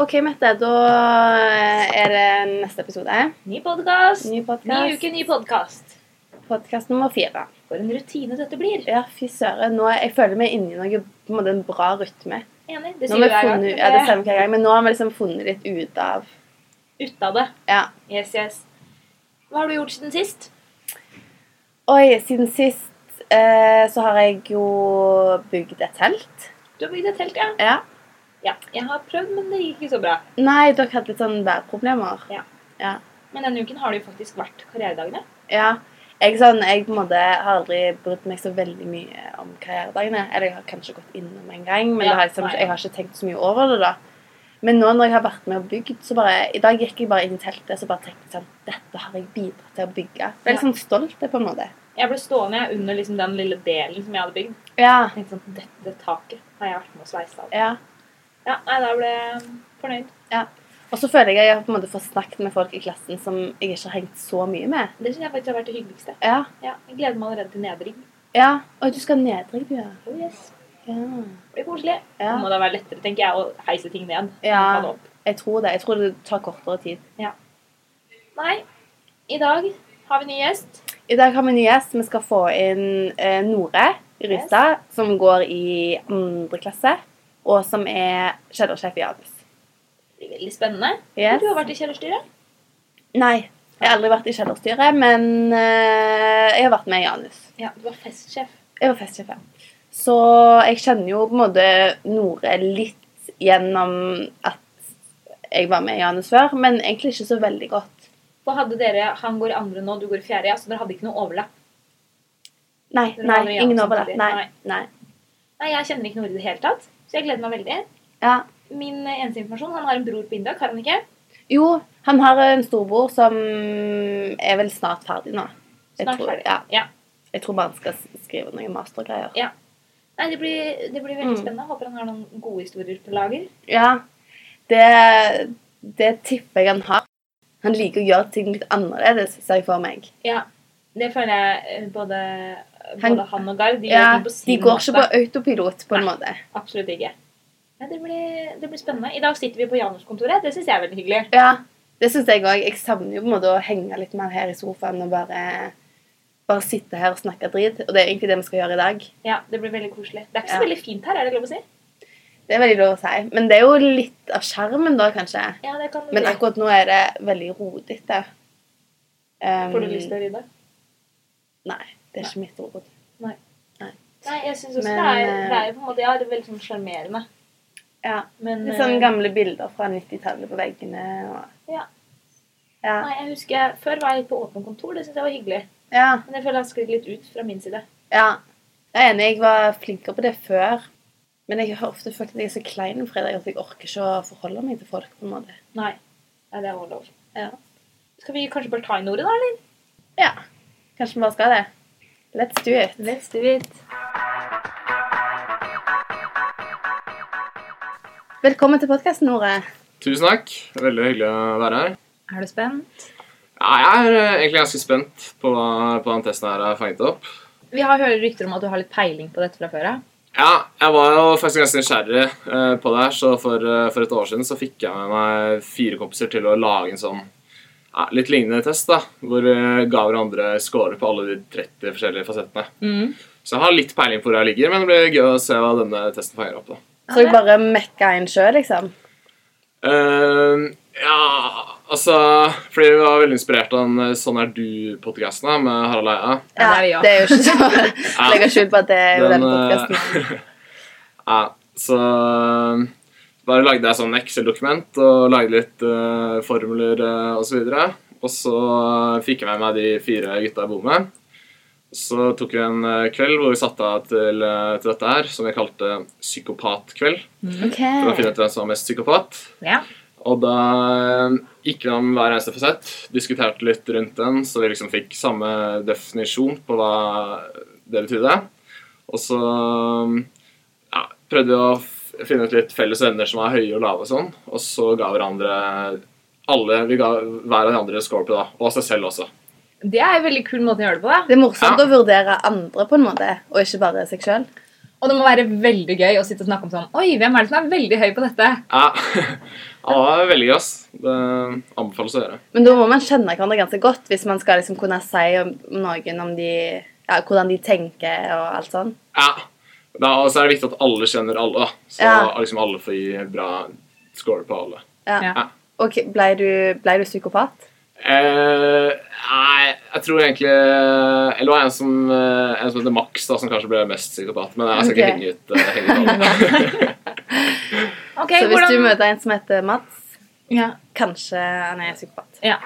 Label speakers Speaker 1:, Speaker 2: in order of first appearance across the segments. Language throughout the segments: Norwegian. Speaker 1: OK, Mette, da er det neste episode.
Speaker 2: Ny podkast.
Speaker 1: Ny
Speaker 2: Ny
Speaker 1: podkast.
Speaker 2: uke, ny podkast.
Speaker 1: Podkast nummer fire.
Speaker 2: For en rutine dette blir.
Speaker 1: Ja, fy søren. nå- Jeg føler vi er inne i noe, på en måte en bra rytme.
Speaker 2: Enig. Det
Speaker 1: Nå har vi
Speaker 2: sier jo jeg
Speaker 1: funnet, ja, det
Speaker 2: gang.
Speaker 1: stemmer hver gang, men nå har vi liksom funnet litt ut av
Speaker 2: Ut av det.
Speaker 1: Ja.
Speaker 2: Yes, yes. Hva har du gjort siden sist?
Speaker 1: Oi, siden sist eh, så har jeg jo bygd et telt.
Speaker 2: Du har bygd et telt, ja.
Speaker 1: Ja.
Speaker 2: Ja, Jeg har prøvd, men det gikk ikke så bra.
Speaker 1: Nei, dere hadde litt sånn værproblemer.
Speaker 2: Men denne uken har det jo faktisk vært karrieredagene.
Speaker 1: Ja. Jeg, sånn, jeg på en måte har aldri brydd meg så veldig mye om karrieredagene. Eller jeg har kanskje gått innom en gang, men
Speaker 2: Ja,
Speaker 1: det har jeg, liksom,
Speaker 2: nei.
Speaker 1: jeg har ikke tenkt så mye over det. da. Men nå når jeg har vært med og bygd, så bare I dag gikk jeg bare inn i teltet så bare tenkte jeg sånn Dette har jeg bidratt til å bygge. Jeg er litt sånn stolt, det, på en måte.
Speaker 2: Jeg ble stående jeg, under liksom, den lille delen som jeg hadde bygd.
Speaker 1: Ja.
Speaker 2: Jeg tenkte sånn, Dette taket har jeg vært med å sveise av.
Speaker 1: ja.
Speaker 2: Ja, nei, da ble jeg fornøyd.
Speaker 1: Og så føler jeg at jeg har på en måte fått snakket med folk i klassen som jeg ikke har hengt så mye med.
Speaker 2: Det syns jeg faktisk har vært det hyggeligste.
Speaker 1: Ja.
Speaker 2: Ja, jeg gleder meg allerede til nedrigg.
Speaker 1: ja. Oi, du skal nedrigg, du, ja.
Speaker 2: Oh, yes.
Speaker 1: ja.
Speaker 2: Det blir koselig.
Speaker 1: Ja.
Speaker 2: Nå må det være lettere, tenker jeg, å heise ting ned.
Speaker 1: Ja.
Speaker 2: enn å ta det opp.
Speaker 1: Jeg tror det. Jeg tror det tar kortere tid.
Speaker 2: Nei, i dag har vi ny gjest.
Speaker 1: I dag har vi en ny gjest. Vi skal få inn eh, Nore Rystad, som går i andre klasse, og som er kjellersjef i Agnes.
Speaker 2: Det blir veldig spennende.
Speaker 1: Yes.
Speaker 2: Du har vært i kjellerstyret.
Speaker 1: Nei, jeg har aldri vært i kjellerstyret, men eh, jeg har vært med i Anus.
Speaker 2: Ja, du var festsjef.
Speaker 1: Jeg var festsjef, ja. Så jeg kjenner jo på en måte Nore litt gjennom at jeg var med i Anus før, men egentlig ikke så veldig godt.
Speaker 2: For hadde dere, Han går i andre nå, du går i fjerde, ja, så dere hadde ikke noe overlapp.
Speaker 1: Nei,
Speaker 2: Dere
Speaker 1: nei,
Speaker 2: var med i Janus
Speaker 1: ingen overlapp.
Speaker 2: samtidig.
Speaker 1: Nei,
Speaker 2: Nei.
Speaker 1: nei.
Speaker 2: Nei, Jeg kjenner ikke noe i det hele tatt, så jeg gleder meg veldig.
Speaker 1: Ja.
Speaker 2: Min eh, eneste informasjon, Han har en bror på Indak, har han ikke?
Speaker 1: Jo, han har en storbror som er vel snart ferdig nå. Jeg
Speaker 2: Snart
Speaker 1: tror,
Speaker 2: ferdig.
Speaker 1: Ja,
Speaker 2: Ja.
Speaker 1: jeg tror bare han skal s- skrive noen mastergreier.
Speaker 2: Nei, Det blir, det blir veldig
Speaker 1: Mm.
Speaker 2: spennende. Håper han har noen gode historier på lager.
Speaker 1: Ja, det, det tipper jeg han har. Han liker å gjøre ting litt annerledes, ser jeg for meg.
Speaker 2: Ja, Det føler jeg eh, både,
Speaker 1: Han-
Speaker 2: både han og Gard. De,
Speaker 1: ja,
Speaker 2: gjør ting på sin
Speaker 1: de går ikke på
Speaker 2: måte.
Speaker 1: autopilot, på en måte.
Speaker 2: Absolutt ikke. Nei, det blir, det blir spennende. I dag sitter vi på Janus-kontoret. Det syns jeg er veldig hyggelig.
Speaker 1: Ja, det syns jeg òg. Jeg savner jo på en måte å henge litt mer her i sofaen og bare, bare sitte her og snakke drit. Og det er egentlig det vi skal gjøre i dag.
Speaker 2: Ja, Det blir veldig koselig. Det er ikke
Speaker 1: Ja.
Speaker 2: så veldig fint her, er det lov å si?
Speaker 1: Det er veldig lov å si. Men det er jo litt av skjermen, da, kanskje.
Speaker 2: Ja, det kan det
Speaker 1: Men
Speaker 2: bli.
Speaker 1: akkurat nå er det veldig rodete. Um,
Speaker 2: Får du lyst til å rydde?
Speaker 1: Nei, det er ikke mitt ord.
Speaker 2: Nei, jeg syns også
Speaker 1: Men,
Speaker 2: det, er,
Speaker 1: eh,
Speaker 2: det er jo på en måte Ja, det er veldig sånn sjarmerende.
Speaker 1: Ja.
Speaker 2: Men
Speaker 1: Litt
Speaker 2: eh,
Speaker 1: sånn gamle bilder fra 90-tallet på veggene. Og...
Speaker 2: Ja.
Speaker 1: Ja.
Speaker 2: Nei, jeg husker Før var jeg litt på åpent kontor. Det syns jeg var hyggelig.
Speaker 1: ja.
Speaker 2: Men jeg føler jeg har sklidd litt ut fra min side.
Speaker 1: ja. Jeg er enig, jeg var flinkere på det før. Men jeg har ofte følt at jeg er så klein om fredager at jeg orker ikke å forholde meg til folk. på en måte.
Speaker 2: Nei. Nei, det er også lov.
Speaker 1: Ja.
Speaker 2: Skal vi kanskje bare ta inn ordet, da, eller?
Speaker 1: ja. Kanskje vi bare skal det. Let's do it.
Speaker 2: Let's do it.
Speaker 1: Velkommen til podkasten, Nore.
Speaker 3: Tusen takk. Det er Veldig hyggelig å være her.
Speaker 2: Er du spent?
Speaker 3: Ja, jeg er eh, egentlig ganske spent på hva, på hva den testen her har fanget opp.
Speaker 2: Vi har hører rykter om at du har litt peiling på dette fra før av.
Speaker 3: Ja, jeg var jo faktisk ganske nysgjerrig eh, på det her, så for, eh, for et år siden så fikk jeg med meg fire kompiser til å lage en sånn ja, litt lignende test, da, hvor vi ga hverandre scorer på alle de 30 forskjellige fasettene.
Speaker 2: Mm.
Speaker 3: Så jeg har litt peiling på hvor jeg ligger, men det blir gøy å se hva denne testen fanger opp. da.
Speaker 1: Så jeg bare mekka inn sjøl, liksom.
Speaker 3: Ehm, ja, altså Fordi vi var veldig inspirert av den eh, Sånn er du-podkasten med Harald Eia.
Speaker 2: Ja, det er vi også.
Speaker 1: det er jo ikke så Legge skjul på at det er jo den
Speaker 3: eh,
Speaker 1: podkasten.
Speaker 3: ja, så eh, bare lagde jeg sånn Excel-dokument og lagde litt eh, formler eh, og så videre. Og så eh, fikk jeg med meg de fire gutta jeg bor med. Så tok vi en eh, kveld hvor vi satte av til, eh, til dette her, som vi kalte psykopatkveld. For å
Speaker 1: Ok.
Speaker 3: finne ut hvem som var mest psykopat.
Speaker 2: Ja.
Speaker 3: Og da eh, gikk vi om hver eneste fasett, diskuterte litt rundt den, så vi liksom fikk samme definisjon på hva det betydde. Og så eh, ja, prøvde vi å f- finne ut litt felles venner som var høye og lave og sånn, og så ga hverandre alle, Vi ga hver av de andre score på det, da, og seg selv også.
Speaker 2: Det er en veldig kul måte å gjøre det på. da.
Speaker 1: Det er morsomt
Speaker 3: Ja.
Speaker 1: å vurdere andre på en måte, og ikke bare seg sjøl.
Speaker 4: Og det må være veldig gøy å sitte og snakke om sånn Oi, hvem er det som er veldig høy på dette?
Speaker 3: Ja, ja det er veldig gøy, ass. Det anbefales å gjøre.
Speaker 1: Men da må man kjenne hverandre ganske godt hvis man skal liksom kunne si om noen om de ja, hvordan de tenker og alt sånn.
Speaker 3: Ja. Da, og så er det viktig at alle kjenner alle, da. Så
Speaker 1: Ja.
Speaker 3: liksom alle får gi bra score på alle.
Speaker 1: Ja.
Speaker 4: Ja.
Speaker 1: Og ble du, ble du psykopat?
Speaker 3: Eh, nei, jeg tror egentlig Eller det var en som, eh, en som heter Max, da, som kanskje ble mest psykopat. Men jeg skal
Speaker 1: Ok.
Speaker 3: ikke henge ut, eh, henge ut alle.
Speaker 4: Ok,
Speaker 1: Så hvis
Speaker 4: hvordan...
Speaker 1: du møter en som heter Mats,
Speaker 4: ja.
Speaker 1: kanskje han er psykopat.
Speaker 4: ja.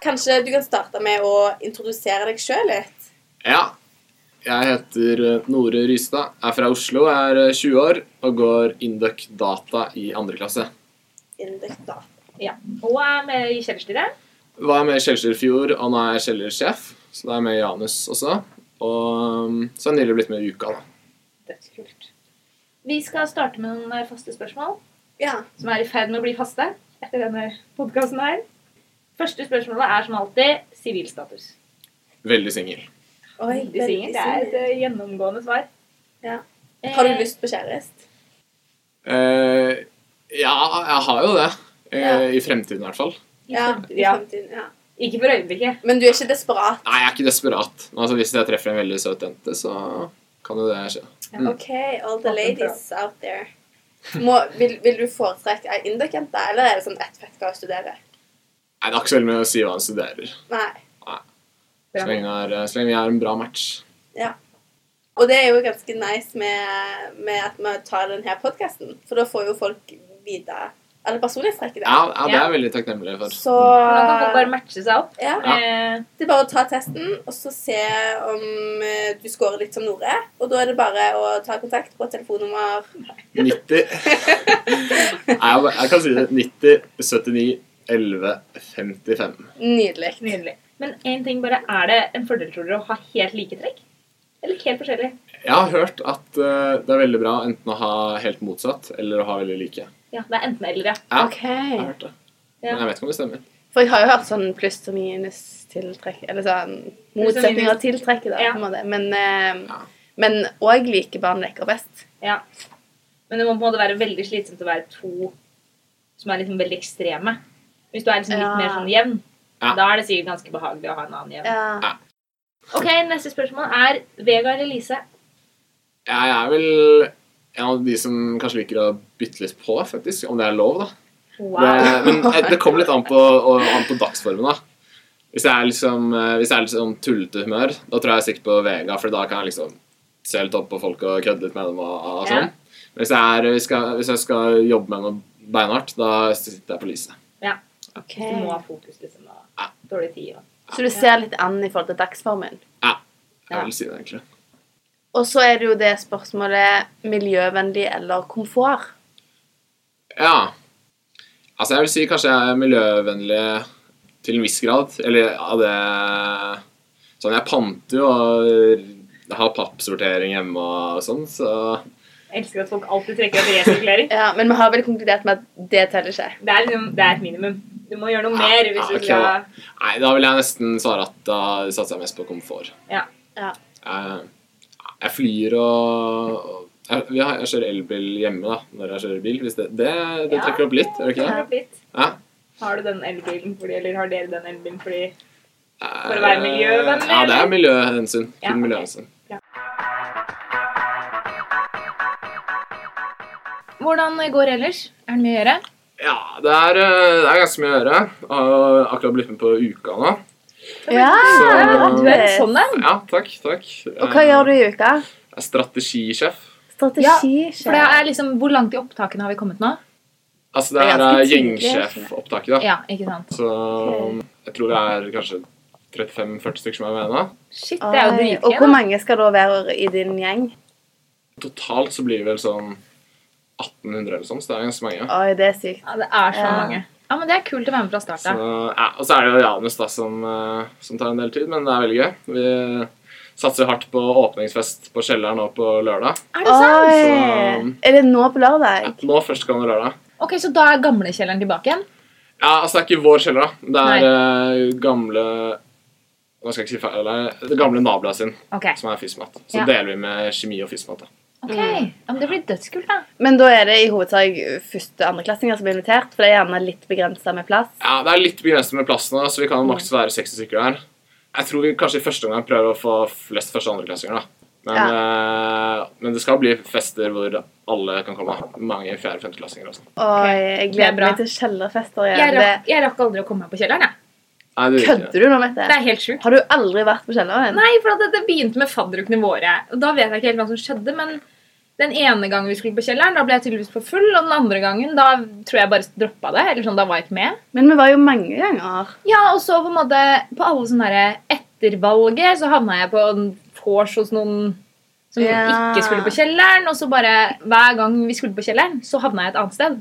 Speaker 5: Kanskje du kan starte med å introdusere deg sjøl litt?
Speaker 3: ja. Jeg heter eh, Nore Rystad, er fra Oslo, er eh, 20 år og går Induc Data i andre klasse.
Speaker 5: Indikt, da.
Speaker 2: Ja. Og er med i kjellerstyret.
Speaker 3: Var med i Kjeller i fjor, og nå er jeg Kjeller-sjef, så da er jeg med i Janus også. Og um, så har jeg nylig blitt med i Uka, da.
Speaker 2: Dødskult. Vi skal starte med noen eh, faste spørsmål
Speaker 5: Ja.
Speaker 2: som er i ferd med å bli faste etter denne podkasten her. Første spørsmålet er som alltid sivilstatus.
Speaker 3: Veldig singel.
Speaker 5: Oi,
Speaker 2: Veldig singel. Det er et eh, gjennomgående svar.
Speaker 5: Ja.
Speaker 2: Eh,
Speaker 5: Har du lyst på kjæreste?
Speaker 3: Eh, ja, jeg har jo det. Eh,
Speaker 5: Ja.
Speaker 3: I fremtiden i hvert fall.
Speaker 2: i
Speaker 5: Ja,
Speaker 2: fremtiden?
Speaker 5: i
Speaker 2: ja.
Speaker 5: fremtiden. Ja.
Speaker 2: Ikke for øyeblikket.
Speaker 5: Men du er ikke desperat?
Speaker 3: Nei, jeg er ikke desperat. Men Altså, hvis jeg treffer en veldig søt jente, så kan jo det skje. Mm.
Speaker 5: OK, all the ladies out there. Må, vil, vil du foretrekke ei inderjente, eller er det sånn ett fett hva hun studerer?
Speaker 3: Nei, det har ikke så veldig mye å si hva han studerer.
Speaker 5: Nei.
Speaker 3: Så
Speaker 4: Bra.
Speaker 3: lenge, det er, så lenge vi er en bra match.
Speaker 5: Og det er jo ganske nice med, med at vi tar denne podkasten, for da får jo folk vite alle personlighetstrekkene.
Speaker 3: Ja, ja det er
Speaker 2: Ja.
Speaker 3: jeg veldig takknemlig for.
Speaker 5: Så
Speaker 2: Da kan folk bare matche seg opp.
Speaker 5: ja,
Speaker 3: Ja.
Speaker 2: Eh,
Speaker 5: Det er bare å ta testen og så se om eh, du scorer litt som Nore. Og da er det bare å ta kontakt på telefonnummer
Speaker 3: 90 Nei, jeg, jeg kan si det. 90, 79, 11, 55.
Speaker 5: Nydelig.
Speaker 2: Nydelig. Men en ting bare, er det en fordel tror dere å ha helt like trekk? Eller ikke helt forskjellig?
Speaker 3: Jeg har hørt at eh, det er veldig bra enten å ha helt motsatt eller å ha veldig like.
Speaker 2: Ja, det er enten eller, ja.
Speaker 3: Ja.
Speaker 1: Ok.
Speaker 3: Jeg har hørt det.
Speaker 2: Ja.
Speaker 3: Men jeg vet ikke om det stemmer.
Speaker 1: For jeg har jo hørt sånn pluss og minus tiltrekk, eller sånn motsetninger
Speaker 2: minus.
Speaker 1: og tiltrekk da,
Speaker 2: Ja.
Speaker 1: på en måte. Men, eh,
Speaker 3: Ja.
Speaker 1: men også like barn leker best.
Speaker 2: ja. Men det må på en måte være veldig slitsomt å være to som er liksom veldig ekstreme. Hvis du er liksom litt
Speaker 1: Ja.
Speaker 2: mer sånn jevn,
Speaker 3: Ja.
Speaker 2: da er det sikkert ganske behagelig å ha en annen jevn.
Speaker 1: Ja.
Speaker 2: Ok, Neste spørsmål er Vegard eller Lise?
Speaker 3: Jeg er vel en av de som kanskje liker å bytte litt på, faktisk. Om det er lov, da. Det,
Speaker 2: Wow.
Speaker 3: men eh, det kommer litt an på, og- an på dagsformen, da. Hvis jeg er liksom, eh, hvis jeg er litt sånn tullete humør, da tror jeg sikkert på Vega, for da kan jeg liksom se litt opp på folk og kødde litt med dem og, og
Speaker 2: Ja.
Speaker 3: sånn. Men hvis jeg, er, hvis, jeg, hvis jeg skal jobbe med noe beinhardt, da sitter jeg på Lise.
Speaker 2: Du må ha fokus, liksom. Og
Speaker 3: Ja.
Speaker 2: dårlig tid. Og.
Speaker 1: Så du ser litt an i forhold til dagsformen.
Speaker 3: Jeg vil si det, egentlig.
Speaker 1: Og så er det jo det spørsmålet miljøvennlig eller komfort.
Speaker 3: Ja. Altså, jeg vil si kanskje jeg er miljøvennlig til en viss grad. Eller av det Sånn, jeg panter jo og har pappsortering hjemme og sånn, så
Speaker 2: Jeg elsker at folk alltid trekker etter resirkulering.
Speaker 1: Ja, men vi har vel konkludert med at det teller ikke.
Speaker 2: Det er liksom, det er et minimum. Du må gjøre noe
Speaker 3: Ja,
Speaker 2: mer
Speaker 3: ja,
Speaker 2: hvis du
Speaker 3: ok,
Speaker 2: skal
Speaker 3: da. Nei, da vil jeg nesten svare at da satser jeg mest på komfort.
Speaker 2: Ja.
Speaker 1: Ja.
Speaker 3: Jeg, jeg flyr og, og jeg, vi har- jeg kjører elbil hjemme da, når jeg kjører bil. Hvis det, det, det
Speaker 2: Ja.
Speaker 3: trekker opp litt, gjør det ikke det?
Speaker 2: Opp litt.
Speaker 3: Ja.
Speaker 2: Har du den elbilen fordi, eller har dere den elbilen fordi
Speaker 3: For
Speaker 2: å være miljøvennlig,
Speaker 3: Eh, Ja, det er miljøhensyn. Kun
Speaker 2: Ja, ok.
Speaker 3: miljøhensyn.
Speaker 4: Hvordan går det ellers? Er det mye å gjøre?
Speaker 3: Ja, det er, eh, det er ganske mye å gjøre. Jeg har akkurat blitt med på Uka nå.
Speaker 1: Ja!
Speaker 3: Så-
Speaker 4: Du er en sånn en.
Speaker 3: Ja, takk. takk. Eh,
Speaker 1: Og hva gjør du i uka?
Speaker 3: Jeg er strategisjef.
Speaker 1: Strategi,
Speaker 4: For det er liksom, Hvor langt i opptakene har vi kommet nå?
Speaker 3: Altså,
Speaker 1: Det
Speaker 3: det
Speaker 1: er
Speaker 3: her
Speaker 1: ganske
Speaker 3: er
Speaker 1: tidlig, skjønner
Speaker 3: gjengsjefopptaket, da.
Speaker 4: Ja, ikke sant?
Speaker 3: Så um, jeg tror det er kanskje 35-40 stykker som er med nå.
Speaker 4: Shit, det er
Speaker 1: Oi,
Speaker 4: jo
Speaker 1: Og
Speaker 4: dritgøy.
Speaker 1: hvor
Speaker 4: da.
Speaker 1: mange skal da være i din gjeng?
Speaker 3: Totalt så blir det vel sånn 1800 eller sånn, så det er ganske mange.
Speaker 1: Oi, det er sykt.
Speaker 4: Ja, det er så
Speaker 1: Ja.
Speaker 4: mange. Ja, men Det er kult å være med fra start
Speaker 3: Så,
Speaker 4: av.
Speaker 3: ja, og så er det jo Janus da som, eh, som tar en del tid, men det er veldig gøy. Vi satser hardt på åpningsfest på Kjelleren nå på lørdag.
Speaker 4: Er det sant?
Speaker 1: Oi! Er det nå på lørdag?
Speaker 3: Nå førstkommende lørdag.
Speaker 4: Ok, Så da er gamlekjelleren tilbake igjen?
Speaker 3: Ja, altså det er ikke vår kjeller, da. Det er eh, gamle nå skal jeg ikke si feil, det gamle naboen sin,
Speaker 4: Ok.
Speaker 3: som er FISMAT. Så
Speaker 4: Ja.
Speaker 3: deler vi med kjemi og FISMAT. da.
Speaker 4: ok.
Speaker 1: Mm.
Speaker 4: Ja, men det blir dødskult, da.
Speaker 1: Men da er det i hovedsak første- og andreklassinger som blir invitert, for det er gjerne litt begrensa med plass.
Speaker 3: Ja, Det er litt begrenset med plassen, da, så vi kan maks være 60 stykker her. Jeg tror vi kanskje i første omgang prøver å få flest første- og andreklassinger. da. Men, eh, men det skal bli fester hvor alle kan komme. Mange fjerde- og sånn. femteklassinger. også.
Speaker 1: Og jeg
Speaker 4: Det er
Speaker 1: gleder
Speaker 4: bra.
Speaker 1: meg til kjellerfester
Speaker 4: Jeg
Speaker 1: igjen.
Speaker 4: rakk, jeg rakk aldri å komme meg på kjelleren. Jeg.
Speaker 3: Nei, det
Speaker 1: Det-
Speaker 3: gjør vi ikke.
Speaker 1: Kødder du nå, Mette?
Speaker 4: Det er helt sjukt.
Speaker 1: Har du aldri vært på kjelleren?
Speaker 4: Nei, for at det begynte med fadderukene våre. Og da vet jeg ikke helt hva som skjedde, men den ene gangen vi skulle på kjelleren, da ble jeg tydeligvis for full. Og den andre gangen, da tror jeg bare droppa det. Eller sånn, da var jeg ikke med.
Speaker 1: Men vi var jo mange ganger.
Speaker 4: Ja, og så på en måte på alle sånne derre ettervalget, så havna jeg på en vors hos noen som
Speaker 1: Ja.
Speaker 4: ikke skulle på kjelleren. Og så bare hver gang vi skulle på kjelleren, så havna jeg et annet sted.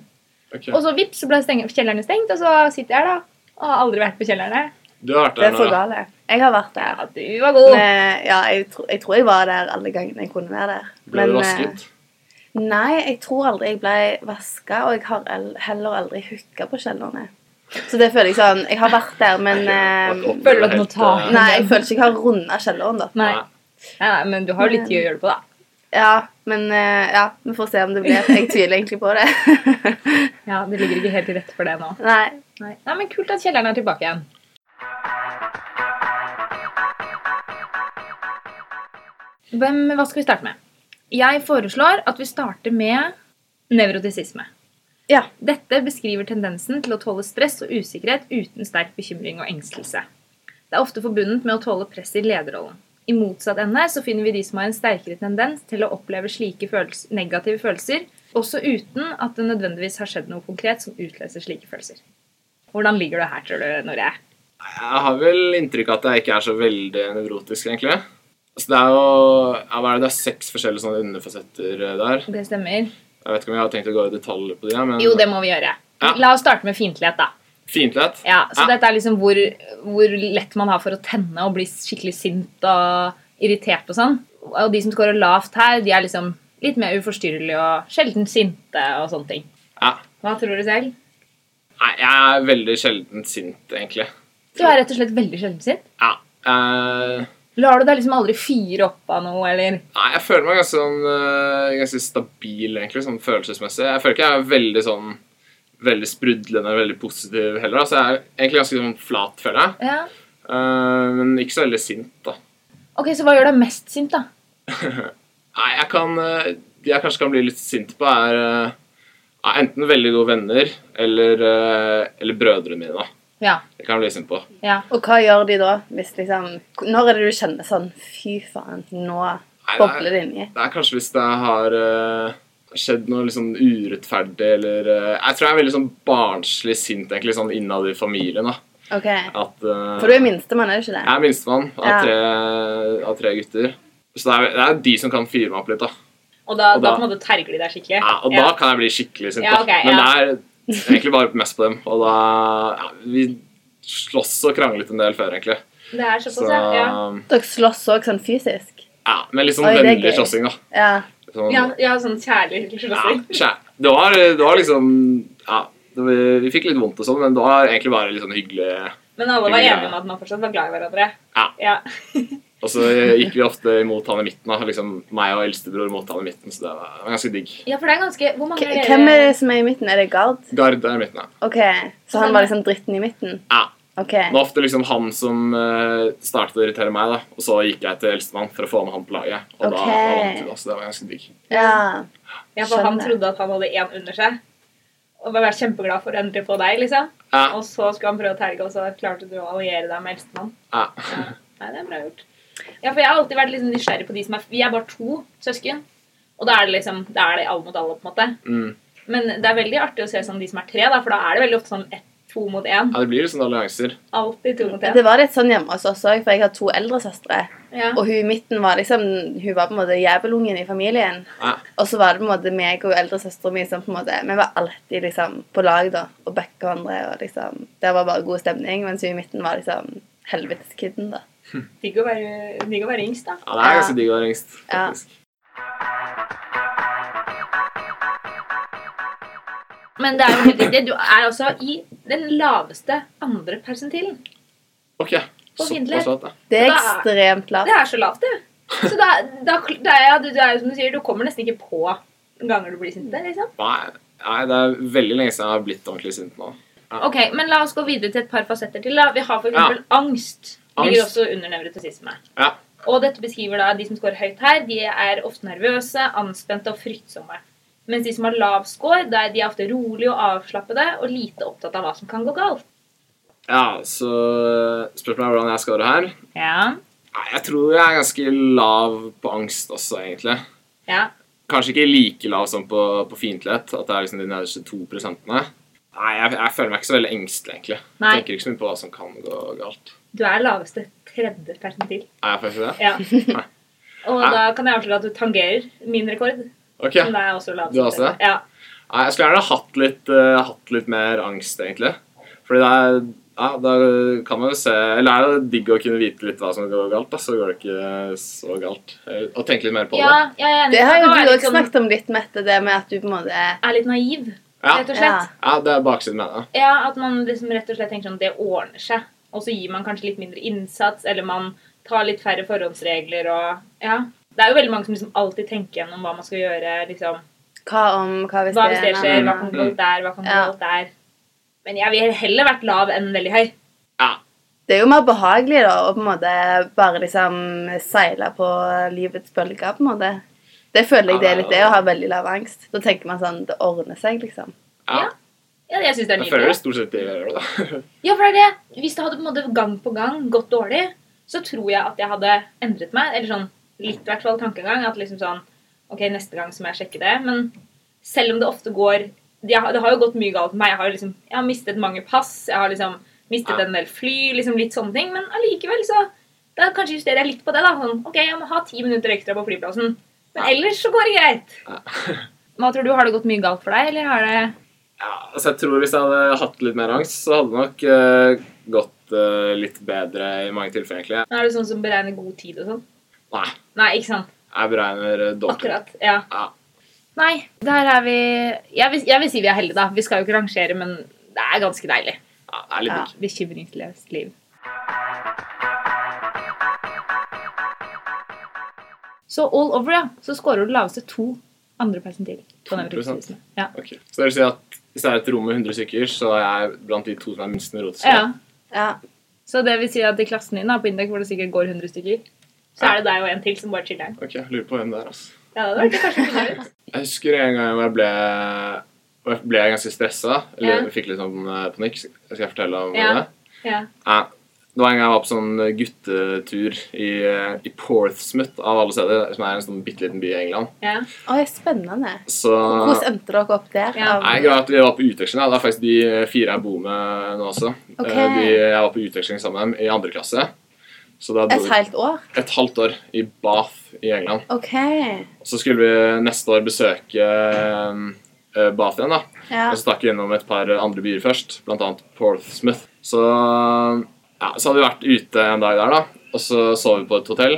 Speaker 3: Ok.
Speaker 4: Og så vips, så ble steng- kjellerne stengt, og så sitter jeg her, da. Og har aldri vært på kjelleren.
Speaker 3: Du har vært
Speaker 1: Det
Speaker 3: der
Speaker 1: er for
Speaker 3: nå, da.
Speaker 1: gale. Jeg har vært der.
Speaker 4: Ja, du var god.
Speaker 1: Men, eh, ja, jeg, tro, jeg tror jeg var der alle gangene jeg kunne være der.
Speaker 3: Ble du
Speaker 1: Men,
Speaker 3: vasket?
Speaker 1: eh, Nei, jeg tror aldri jeg ble vaska, og jeg har el- heller aldri hooka på kjellerne. Så det føler jeg sånn Jeg har vært der, men
Speaker 3: Jeg
Speaker 1: eh,
Speaker 3: opplever
Speaker 4: føler at
Speaker 3: helt,
Speaker 4: notat-
Speaker 3: eh,
Speaker 1: Nei, jeg føler ikke jeg har runda kjelleren, da.
Speaker 4: Nei.
Speaker 3: Nei.
Speaker 4: Nei, nei, men du har jo litt tid å gjøre det på, da.
Speaker 1: Ja, men eh, ja, vi får se om det blir Jeg tviler egentlig på det.
Speaker 4: Ja, Det ligger ikke helt til rette for det nå.
Speaker 1: Nei.
Speaker 4: Nei, Nei men Kult at kjelleren er tilbake igjen. Hvem, hva skal vi starte med? Jeg foreslår at vi starter med nevrotisisme.
Speaker 1: Ja.
Speaker 4: Dette beskriver tendensen til å tåle stress og usikkerhet uten sterk bekymring og engstelse. Det er ofte forbundet med å tåle press i lederrollen. I motsatt ende så finner vi de som har en sterkere tendens til å oppleve slike følels negative følelser, også uten at det nødvendigvis har skjedd noe konkret som utløser slike følelser. Hvordan ligger du her, tror du, Noré?
Speaker 3: Jeg har vel inntrykk av at jeg ikke er så veldig nevrotisk, egentlig. Altså, det er jo ja, hva er det, det er seks forskjellige sånne underfasetter eh, der.
Speaker 4: Det stemmer.
Speaker 3: Jeg vet ikke om jeg har tenkt å gå i detalj på de, ja, men
Speaker 4: Jo, det må vi gjøre.
Speaker 3: Ja.
Speaker 4: La oss starte med fiendtlighet, da.
Speaker 3: fiendtlighet.
Speaker 4: Ja, så
Speaker 3: Ja.
Speaker 4: dette er liksom hvor, hvor lett man har for å tenne og bli skikkelig sint og irritert og sånn. Og de som scorer lavt her, de er liksom litt mer uforstyrrelige og sjelden sinte og sånne ting.
Speaker 3: Ja.
Speaker 4: Hva tror du selv?
Speaker 3: Nei, jeg er veldig sjelden sint, egentlig.
Speaker 4: Du er rett og slett veldig sjelden sint.
Speaker 3: Ja. Eh,
Speaker 4: Lar du deg liksom aldri fyre opp av noe, eller?
Speaker 3: nei, jeg føler meg ganske, sånn, eh, ganske stabil, egentlig, sånn følelsesmessig. Jeg føler ikke jeg er veldig sånn veldig sprudlende veldig positiv heller. Altså, jeg er egentlig ganske sånn flat, føler jeg.
Speaker 4: Ja.
Speaker 3: Eh, men ikke så veldig sint, da.
Speaker 4: Ok, så hva gjør deg mest sint, da?
Speaker 3: Nei, jeg kan eh, De jeg kanskje kan bli litt sint på, er eh, ja, enten veldig gode venner eller, eh, eller brødrene mine. da.
Speaker 4: Ja.
Speaker 3: Det kan jeg bli sint på.
Speaker 4: ja.
Speaker 1: Og hva gjør de da? Hvis liksom Når er det du kjenner sånn Fy faen, nå bobler det inni.
Speaker 3: Det er kanskje hvis det har eh, skjedd noe litt sånn urettferdig eller eh, Jeg tror jeg er veldig sånn barnslig sint egentlig sånn innad i familien. da.
Speaker 1: Ok.
Speaker 3: At, eh,
Speaker 1: For du er minstemann, er du ikke det?
Speaker 3: Jeg er minstemann av,
Speaker 1: Ja.
Speaker 3: tre, av tre gutter. Så det er, det er de som kan fyre meg opp litt. da.
Speaker 2: Og da,
Speaker 3: Og
Speaker 2: da,
Speaker 3: da-
Speaker 2: på en måte terger de deg skikkelig.
Speaker 3: Ja, og da
Speaker 2: Ja.
Speaker 3: kan jeg bli skikkelig sint.
Speaker 2: Ja,
Speaker 3: da.
Speaker 2: ok,
Speaker 3: Men
Speaker 2: ja.
Speaker 3: det er egentlig bare mest på dem. Og da ja, Vi slåss og kranglet en del før, egentlig.
Speaker 2: Det er
Speaker 3: Så
Speaker 2: såpass, ja. ja.
Speaker 3: ja,
Speaker 1: Dere slåss òg sånn fysisk?
Speaker 3: Men litt sånn
Speaker 1: Oi, det er
Speaker 3: vennlig
Speaker 1: gøy.
Speaker 3: slåssing, da.
Speaker 1: Ja.
Speaker 3: Sånn,
Speaker 2: Ja, ja, sånn kjærlig slåssing.
Speaker 3: Ja, kjæ- det, var, det var liksom Ja, det var, vi fikk litt vondt og sånn, men det var egentlig bare litt sånn hyggelig.
Speaker 2: Men alle var
Speaker 3: Ja.
Speaker 2: enige om at man fortsatt var glad i hverandre.
Speaker 3: Ja.
Speaker 2: Ja.
Speaker 3: Og så gikk vi ofte imot han i midten, da. Liksom meg og eldstebror mot han i midten, så det var, det var ganske digg.
Speaker 4: Ja, for det er ganske Hvor mange
Speaker 1: K-
Speaker 4: er dere?
Speaker 1: Hvem er det som er i midten? Er det Gard?
Speaker 3: Gard er i midten, ja.
Speaker 1: Ok, Så han var liksom dritten i midten?
Speaker 3: ja.
Speaker 1: Ok.
Speaker 3: Det var ofte liksom han som eh, startet å irritere meg, da. Og så gikk jeg til eldstemann for å få med han på laget. Og da,
Speaker 1: Ok.
Speaker 3: da vant vi, da, så det var ganske digg.
Speaker 1: Ja.
Speaker 2: Ja, for han
Speaker 1: Skjønner.
Speaker 2: trodde at han hadde én under seg. Og var kjempeglad for å endre på deg, liksom.
Speaker 3: Ja,
Speaker 2: Og så skulle han prøve å terge, og så klarte du å alliere deg med eldstemann.
Speaker 3: ja.
Speaker 2: Nei, det er bra gjort. Ja, for jeg har alltid vært litt sånn nysgjerrig på de som er Vi er bare to søsken. Og da er det liksom Da er det alle mot alle, på en måte.
Speaker 3: Mm.
Speaker 2: Men det er veldig artig å se sånn de som er tre, da, for da er det veldig ofte sånn ett, to mot én.
Speaker 3: ja, det blir litt sånne allianser.
Speaker 2: Alltid to mot én.
Speaker 1: Det var litt sånn hjemme hos oss òg, for jeg har to eldre søstre.
Speaker 2: Ja.
Speaker 1: Og hun i midten var liksom Hun var på en måte jævelungen i familien.
Speaker 3: Ja.
Speaker 1: Og så var det på en måte meg og eldresøstera mi som på en måte Vi var alltid liksom på lag, da, og backa hverandre, og liksom Det var bare god stemning, mens hun i midten var liksom helveteskidden, da.
Speaker 2: Digg å være digg å være yngst, da.
Speaker 3: Ja, det er ganske digg å være yngst,
Speaker 1: Ja.
Speaker 3: faktisk.
Speaker 4: Men det er jo helt riktig. Du er altså i den laveste andre persentilen.
Speaker 3: Ok,
Speaker 4: på
Speaker 3: Såpass
Speaker 4: Findler.
Speaker 3: at det.
Speaker 1: Det er
Speaker 2: Da-
Speaker 1: ekstremt
Speaker 2: Det
Speaker 1: lavt.
Speaker 2: er så lavt, det. Så da, da, da ja, du, du er jo som du sier, du kommer nesten ikke på ganger du blir sint der, liksom.
Speaker 3: Nei, nei, det er veldig lenge siden jeg har blitt ordentlig sint nå.
Speaker 4: Ja.
Speaker 2: Ok, men la oss gå videre til et par fasetter til. da. Vi har for eksempel angst. Ligger
Speaker 3: Angst.
Speaker 2: også under nevrotisisme.
Speaker 3: Ja.
Speaker 2: Og dette beskriver da de som scorer høyt her, de er ofte nervøse, anspente og fryktsomme. Mens de som har lav score, da er de ofte rolige og avslappede og lite opptatt av hva som kan gå galt.
Speaker 3: Ja, så eh, spørsmålet er hvordan jeg skal ha det her.
Speaker 2: Ja.
Speaker 3: Nei, jeg tror jeg er ganske lav på angst også, egentlig.
Speaker 2: Ja.
Speaker 3: Kanskje ikke like lav som på, på fiendtlighet, at det er liksom de nederste to prosentene. Nei, jeg, jeg føler meg ikke så veldig engstelig, egentlig.
Speaker 2: Nei.
Speaker 3: Tenker ikke så mye på hva som kan gå galt.
Speaker 2: Du er laveste tredje persentil.
Speaker 3: Er jeg faktisk det?
Speaker 2: Ja. Og
Speaker 3: Ja.
Speaker 2: da kan jeg avsløre at du tangerer min rekord.
Speaker 3: Ok.
Speaker 2: Men da er jeg også lavest.
Speaker 3: Du er også det?
Speaker 2: Ja.
Speaker 3: Nei, jeg skulle gjerne hatt litt, eh, hatt litt mer angst, egentlig. Fordi det er ja, da kan man jo se Eller det er jo digg å kunne vite litt hva som går galt, da, så går det ikke så galt. Eh, Og tenke litt mer på
Speaker 2: ja, jeg er enig.
Speaker 1: Det har
Speaker 2: Da
Speaker 1: jo
Speaker 2: er
Speaker 1: du
Speaker 2: jeg
Speaker 1: òg
Speaker 2: litt sånn-
Speaker 1: snakket om litt, Mette, det med at du på en måte
Speaker 2: Er litt naiv,
Speaker 3: Ja.
Speaker 2: rett og slett.
Speaker 1: Ja.
Speaker 3: det. Ja, det er baksiden med det.
Speaker 2: Ja, at man liksom rett og slett tenker sånn, det ordner seg. Og så gir man kanskje litt mindre innsats, eller man tar litt færre forhåndsregler og Ja. Det er jo veldig mange som liksom alltid tenker gjennom hva man skal gjøre. liksom.
Speaker 1: Hva om Hva hvis,
Speaker 2: Hva hvis det skjer? Hva kan
Speaker 3: Mm.
Speaker 2: gå galt der? Hva kan gå
Speaker 1: Ja.
Speaker 2: galt der? Men jeg ville heller vært lav enn veldig høy.
Speaker 3: Ja.
Speaker 1: Det er jo mer behagelig da, å på en måte bare liksom seile på livets bølger, på en måte. Det føler jeg det er litt det, å ha veldig lav angst. Da tenker man sånn Det ordner seg, liksom.
Speaker 3: ja.
Speaker 2: Ja. Ja, jeg synes det er
Speaker 3: Jeg føler
Speaker 2: nydelig.
Speaker 3: det stort sett det gjør det, da.
Speaker 2: Ja, for det er det. Hvis det hadde på en måte gang på gang gått dårlig, så tror jeg at jeg hadde endret meg. Eller sånn litt i hvert fall tankegang. At liksom sånn Ok, neste gang så må jeg sjekke det. Men selv om det ofte går Det har, det har jo gått mye galt med meg. Jeg har jo liksom jeg har mistet mange pass. Jeg har liksom mistet
Speaker 3: Ja.
Speaker 2: en del fly. liksom Litt sånne ting. Men allikevel så da kanskje justerer jeg litt på det. da, sånn, Ok, jeg må ha ti minutter ekstra på flyplassen. Men ellers så går det greit.
Speaker 3: Ja.
Speaker 2: Hva tror du, Har det gått mye galt for deg, eller har det
Speaker 3: Ja, altså jeg tror Hvis jeg hadde hatt litt mer angst, så hadde det nok eh, gått eh, litt bedre i mange tilfeller. egentlig.
Speaker 2: er det sånn som beregner god tid og sånn?
Speaker 3: Nei,
Speaker 2: Nei, ikke sant?
Speaker 3: jeg beregner eh, dårlig.
Speaker 2: Akkurat. Ja.
Speaker 3: Ja.
Speaker 2: Nei, der er vi jeg vil, jeg vil si vi er heldige, da. Vi skal jo ikke rangere, men det er ganske deilig.
Speaker 3: Ja, det er litt
Speaker 1: Ja.
Speaker 3: digg.
Speaker 2: Bekymringsløst liv. Så all over, ja. Så scorer du laveste to andre persentil. på
Speaker 3: 2%.
Speaker 2: nevrotisisme. Ja.
Speaker 3: Ok. Så det vil si at hvis det er et rom med 100 stykker, så er jeg blant de to som er minst nevrotiske.
Speaker 2: ja.
Speaker 1: Ja.
Speaker 2: Så det vil si at i klassen din da, på Indek, hvor det sikkert går 100 stykker, så
Speaker 3: Ja.
Speaker 2: er det deg og en til som bare chiller.
Speaker 3: Ok, jeg Lurer på hvem det er. altså.
Speaker 2: Ja, det hadde vært kanskje å finne ut.
Speaker 3: Jeg husker en gang hvor jeg ble, hvor jeg ble ganske stressa. Eller
Speaker 2: Ja.
Speaker 3: fikk litt sånn eh, panikk. Skal jeg fortelle om
Speaker 2: Ja.
Speaker 3: det?
Speaker 2: Ja.
Speaker 3: Nei. Det var en gang jeg var på sånn guttetur i, eh, i Porthsmouth, av alle steder, som er en sånn bitte liten by i England.
Speaker 2: Ja.
Speaker 1: Oi, spennende.
Speaker 3: Så
Speaker 1: Hvordan endte dere opp der?
Speaker 2: Ja.
Speaker 1: Av-
Speaker 3: Eh, Nei, greia er at vi var på utveksling. da. Det er faktisk de fire jeg bor med nå også.
Speaker 1: Ok.
Speaker 3: Eh, De, jeg var på utveksling sammen med dem i andre klasse. Så da dro
Speaker 1: Et
Speaker 3: vi
Speaker 1: helt år?
Speaker 3: et halvt år i Bath i England.
Speaker 1: OK.
Speaker 3: Så skulle vi neste år besøke eh, Bath igjen, da.
Speaker 1: Ja.
Speaker 3: Og så stakk vi gjennom et par andre byer først, bl.a. Porthsmouth. Så, ja, så hadde vi vært ute en dag der, da, og så sov vi på et hotell.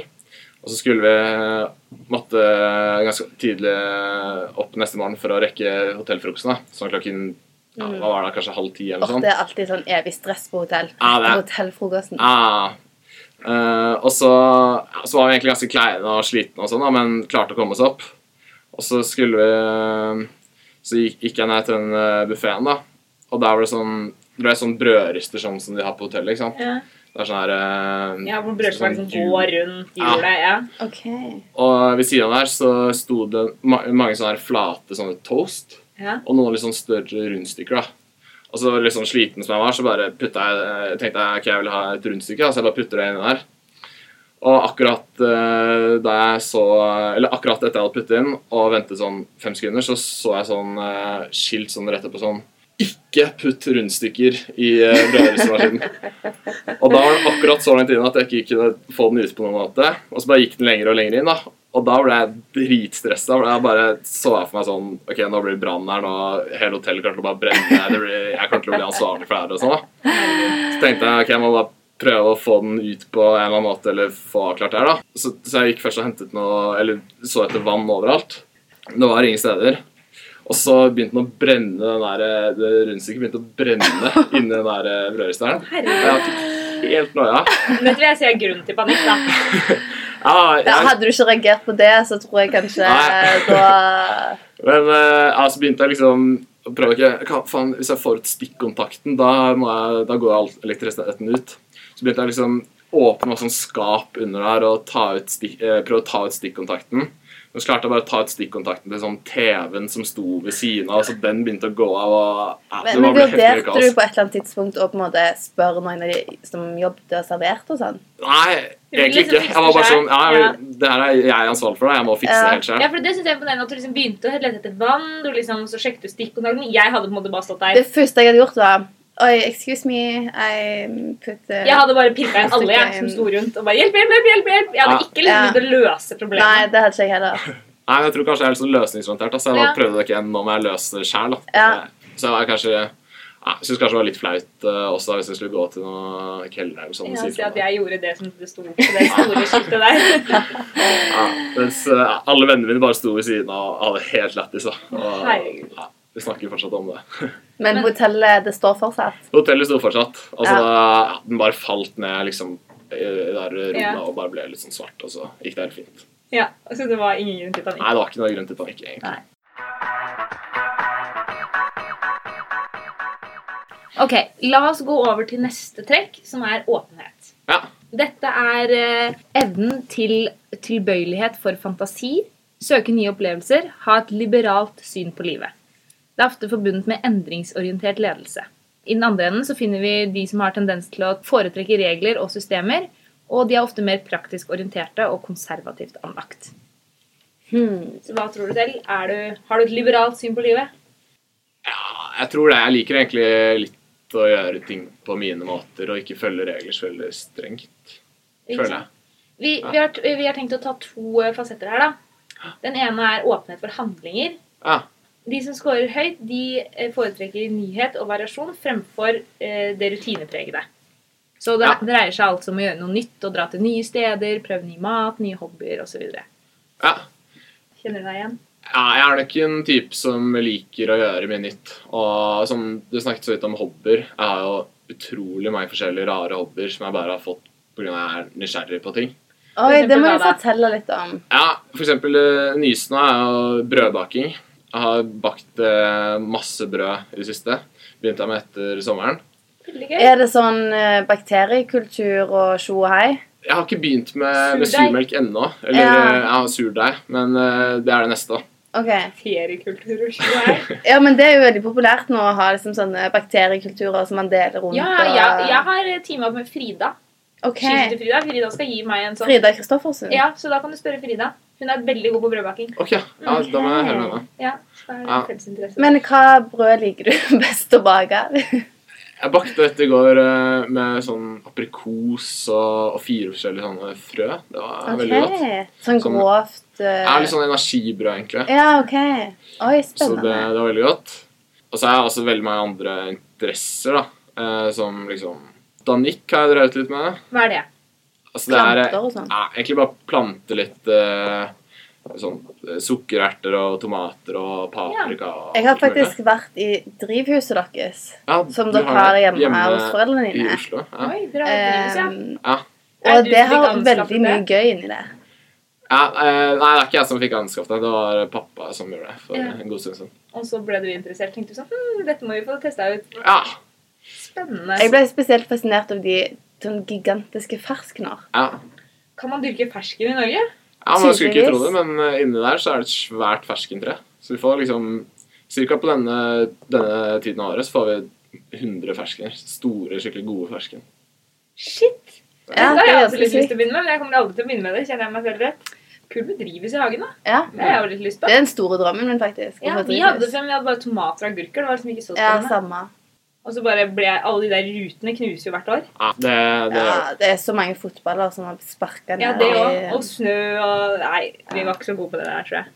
Speaker 3: Og så skulle vi måtte ganske tidlig opp neste morgen for å rekke hotellfrokosten. da, Sånn klokken ja, hva var det, kanskje halv ti eller
Speaker 1: Åh,
Speaker 3: noe sånt.
Speaker 1: det er alltid sånn evig stress på hotell.
Speaker 3: Ja, det er-
Speaker 1: Hotellfrokosten.
Speaker 3: Ja. Ah. Eh, og så, ja, så var vi egentlig ganske kleine og slitne, og sånn da, men klarte å komme oss opp. Og så skulle vi Så gikk, gikk jeg ned til den buffeen, da. Og der var det sånn Det ble sånn brødrister sånn som de har på hotellet. ikke sant?
Speaker 2: Ja.
Speaker 3: Det er sånn her eh,
Speaker 2: ja, hvor brødskiva liksom
Speaker 3: hjul.
Speaker 2: går rundt
Speaker 3: Ja.
Speaker 2: hjulet. Ja.
Speaker 1: OK.
Speaker 3: Og ved siden av der så sto det ma mange sånne her flate sånne toast.
Speaker 2: Ja.
Speaker 3: Og noen litt sånn større rundstykker. da. Og så litt sånn sliten som jeg var, så bare putta jeg, eh, tenkte jeg ok, jeg vil ha et rundstykke. da, Så jeg bare putter det inni der. Og akkurat eh, da jeg så Eller akkurat etter jeg hadde puttet inn og ventet sånn fem sekunder, så så jeg sånn eh, skilt sånn rett oppå sånn Ikke putt rundstykker i eh, brødrestemaskinen. og da var den akkurat så langt inn at jeg ikke kunne få den ut på noen måte. Og så bare gikk den lenger og lenger inn, da. Og da ble jeg dritstressa. for Jeg bare så jeg for meg sånn Ok, nå blir det brann her, nå hele hotellet kommer til å bare brenne. Det blir, jeg kommer til å bli ansvarlig for det her og sånn, da. Så tenkte jeg ok, jeg må bare prøve å få den ut på en eller annen måte, eller få avklart det her, da. Så, så jeg gikk først og hentet noe Eller så etter vann overalt. Det var ingen steder. Og så begynte den å brenne, den der, det rundstykket begynte å brenne inni den der brødristeren. Jeg, helt noia.
Speaker 2: Men tror jeg sier grunn til panikk, da.
Speaker 3: Ja,
Speaker 1: Ja,
Speaker 3: jeg,
Speaker 1: hadde du ikke reagert på det, så tror jeg kanskje
Speaker 3: Nei.
Speaker 1: da
Speaker 3: men eh, ja, så begynte jeg liksom å prøve ikke hva faen, Hvis jeg får ut stikkontakten, da, må jeg, da går all elektrisiteten ut. Så begynte jeg liksom å åpne et sånt skap under der og ta ut stikk, eh, prøve å ta ut stikkontakten. Men så klarte jeg bare å ta ut stikkontakten til sånn TV-en som sto ved siden av, så den begynte å gå av. og ja,
Speaker 1: Men, men
Speaker 3: bare ble helt mye
Speaker 1: vurderte
Speaker 3: kaos.
Speaker 1: du på et eller annet tidspunkt å på en måte spørre noen av de som jobbet og serverte og sånn?
Speaker 3: Nei, egentlig
Speaker 2: liksom
Speaker 3: ikke. Jeg var bare
Speaker 2: fikse
Speaker 3: sånn ja,
Speaker 2: selv.
Speaker 3: jeg, Det her er jeg ansvarlig for, det. jeg må fikse
Speaker 1: Ja.
Speaker 3: det helt selv.
Speaker 2: Ja, for det synes jeg er imponerende at du liksom begynte å lete etter vann, du liksom, så sjekket du stikkontakten. Jeg hadde på en måte bare stått der.
Speaker 1: Det første jeg hadde gjort, var Oi, excuse me, I put the
Speaker 2: Jeg hadde bare pirka inn alle jeg,
Speaker 1: Stikket
Speaker 2: som
Speaker 1: inn.
Speaker 2: sto rundt og bare hjelp, hjelp, hjelp, hjelp, hjelp. Jeg hadde
Speaker 3: Ja.
Speaker 2: ikke liksom
Speaker 1: Ja.
Speaker 2: begynt å løse
Speaker 1: Nei,
Speaker 2: problemet.
Speaker 1: det hadde ikke jeg heller.
Speaker 3: Nei, men Jeg tror kanskje jeg er litt sånn løsningsorientert. da, Så jeg bare
Speaker 2: Ja.
Speaker 3: prøvde det ikke igjen. Nå må jeg løse det sjæl.
Speaker 1: Ja.
Speaker 3: Så jeg var kanskje ja, Jeg syns kanskje det var litt flaut eh, også hvis jeg skulle gå til noe kelner eller sånn. og
Speaker 2: Ja,
Speaker 3: si
Speaker 2: si
Speaker 3: fra
Speaker 2: at
Speaker 3: meg.
Speaker 2: jeg gjorde det som det sto på det store skiltet der.
Speaker 3: Ja, mens eh, alle vennene mine bare sto ved siden av og hadde helt lættis. da. Og,
Speaker 2: Herregud.
Speaker 3: Ja, vi snakker fortsatt om det.
Speaker 1: Men hotellet, det står fortsatt.
Speaker 3: Hotellet sto fortsatt. Altså,
Speaker 1: Ja.
Speaker 3: da- ja, Den bare falt ned liksom i det der rommet
Speaker 2: Ja.
Speaker 3: og bare ble litt sånn svart, og så gikk det helt fint.
Speaker 2: Ja, Så det var ingen grunn til panikk.
Speaker 3: Nei, det var ikke noe grunn til panikk, egentlig.
Speaker 4: Ok, La oss gå over til neste trekk, som er åpenhet.
Speaker 3: Ja.
Speaker 4: Dette er eh, evnen til tilbøyelighet for fantasi, søke nye opplevelser, ha et liberalt syn på livet. Det er ofte forbundet med endringsorientert ledelse. I den andre enden så finner vi de som har tendens til å foretrekke regler og systemer, og de er ofte mer praktisk orienterte og konservativt anlagt.
Speaker 2: Hmm, Så hva tror du selv? Er du, har du et liberalt syn på livet?
Speaker 3: Ja, jeg tror det. Jeg liker egentlig litt å gjøre ting på mine måter og ikke følge regler så veldig strengt.
Speaker 2: Ikke
Speaker 3: Føler jeg.
Speaker 2: sant? Vi, vi, har, vi har tenkt å ta to eh, fasetter her. da. Den ene er åpenhet for handlinger.
Speaker 3: Ja.
Speaker 2: De som scorer høyt, de eh, foretrekker nyhet og variasjon fremfor eh, det rutinepregede.
Speaker 4: Så det
Speaker 3: Ja.
Speaker 4: dreier seg altså om å gjøre noe nytt og dra til nye steder, prøve ny mat, nye hobbyer osv.
Speaker 3: ja.
Speaker 2: Kjenner du deg igjen?
Speaker 3: Ja, jeg er nok en type som liker å gjøre mye nytt. Og som du snakket så vidt om hobbyer. Jeg har jo utrolig mange forskjellige rare hobbyer som jeg bare har fått pga. at jeg er nysgjerrig på ting.
Speaker 1: Oi, det må du
Speaker 2: eksempel hva da?
Speaker 1: fortelle litt om.
Speaker 3: Ja, for eksempel eh, Nysnø er jo brødbaking. Jeg har bakt eh, masse brød i det siste. Begynte jeg med etter sommeren.
Speaker 2: Veldig gøy.
Speaker 1: Er det sånn eh, bakteriekultur og tjo og hei?
Speaker 3: Jeg har ikke begynt med, med
Speaker 2: Surdeig.
Speaker 3: surmelk ennå. Eller
Speaker 1: Ja.
Speaker 3: eh, jeg har surdeig, men eh, det er det neste. da.
Speaker 1: Ok.
Speaker 2: Feriekultur og slikt der.
Speaker 1: Ja, men det er jo veldig populært nå å ha liksom sånne bakteriekulturer som man deler rundt.
Speaker 2: Ja,
Speaker 1: og-
Speaker 2: jeg, jeg har teama opp med Frida.
Speaker 1: Ok.
Speaker 2: Skyter til Frida. Frida skal gi meg en sånn.
Speaker 1: Frida Kristoffersen.
Speaker 2: Ja, Så da kan du spørre Frida. Hun er veldig god på brødbaking.
Speaker 3: Ok, ja, da må jeg høre med henne.
Speaker 2: Ja, så er det
Speaker 3: Ja.
Speaker 2: fellesinteresse.
Speaker 1: Men hva brød liker du best å bake?
Speaker 3: Jeg bakte dette i går eh, med sånn aprikos og, og fire forskjellige sånne frø. Det var veldig godt.
Speaker 1: Ok. Sånn
Speaker 3: Sånn-
Speaker 1: grovt eh,
Speaker 3: Jeg er litt sånn energibrød, egentlig.
Speaker 1: Ja, OK. Oi,
Speaker 3: Så det,
Speaker 1: spennende.
Speaker 3: det var veldig godt. Og så er jeg også veldig mange andre interesser, da. Eh, som liksom Danikk har jeg drevet litt med.
Speaker 2: Hva er det?
Speaker 3: Altså, det er,
Speaker 1: Planter og sånn.
Speaker 3: Ja, egentlig bare plante litt eh, sånn eh, sukkererter og tomater og paprika. og
Speaker 1: Jeg har
Speaker 3: alt mulig.
Speaker 1: faktisk vært i drivhuset deres,
Speaker 3: Ja,
Speaker 1: som
Speaker 3: du
Speaker 1: dere har
Speaker 3: det
Speaker 1: hjemme, hos foreldrene
Speaker 3: I
Speaker 1: dine.
Speaker 3: Oslo. Ja.
Speaker 2: Oi, dere har et drivhus, ja.
Speaker 1: Ehm,
Speaker 3: Ja.
Speaker 2: Er
Speaker 1: og
Speaker 2: du
Speaker 1: det
Speaker 2: som fikk
Speaker 1: har
Speaker 2: anskaffet
Speaker 1: veldig mye gøy inni det.
Speaker 3: Ja, eh, nei, det er ikke jeg som fikk anskaffet det. Det var pappa som gjorde det for
Speaker 2: Ja.
Speaker 3: en god stund siden.
Speaker 2: Og så ble du interessert. Tenkte du sånn hm, Dette må vi få testa ut.
Speaker 3: Ja,
Speaker 2: Spennende.
Speaker 1: Jeg ble spesielt fascinert av de sånn gigantiske ferskener.
Speaker 3: ja.
Speaker 2: Kan man dyrke fersken i Norge?
Speaker 3: ja man skulle ikke tro det,
Speaker 1: Tydeligvis.
Speaker 3: men eh, inni der så er det et svært ferskentre. Så vi får liksom Cirka på denne, denne tiden av året så får vi 100 ferskener. Store, skikkelig gode fersken.
Speaker 2: Shit!
Speaker 1: Ja,
Speaker 2: det
Speaker 1: det
Speaker 2: har jeg
Speaker 1: er
Speaker 2: alltid litt
Speaker 1: ganske
Speaker 2: lyst til
Speaker 1: sykt.
Speaker 2: å begynne med, men jeg kommer aldri til å begynne med det. kjenner jeg meg selv rett. Kult med drivhus i hagen, da.
Speaker 1: Ja.
Speaker 2: Det har jeg jo litt lyst
Speaker 1: Det
Speaker 2: på.
Speaker 1: er den store drømmen min, faktisk. å
Speaker 2: Ja,
Speaker 1: få
Speaker 2: vi
Speaker 1: drivhus.
Speaker 2: hadde det, men vi hadde bare tomater og agurker. Det var liksom ikke så
Speaker 1: ja,
Speaker 2: spennende.
Speaker 1: samme.
Speaker 2: Og så bare ble alle de der rutene knuser jo hvert år.
Speaker 3: Ja, det, det gjør
Speaker 1: Ja, det er så mange fotballer som har sparka ned
Speaker 2: Ja, det òg.
Speaker 1: i-
Speaker 2: Og snø og Nei, vi var ikke så gode på det der, tror jeg.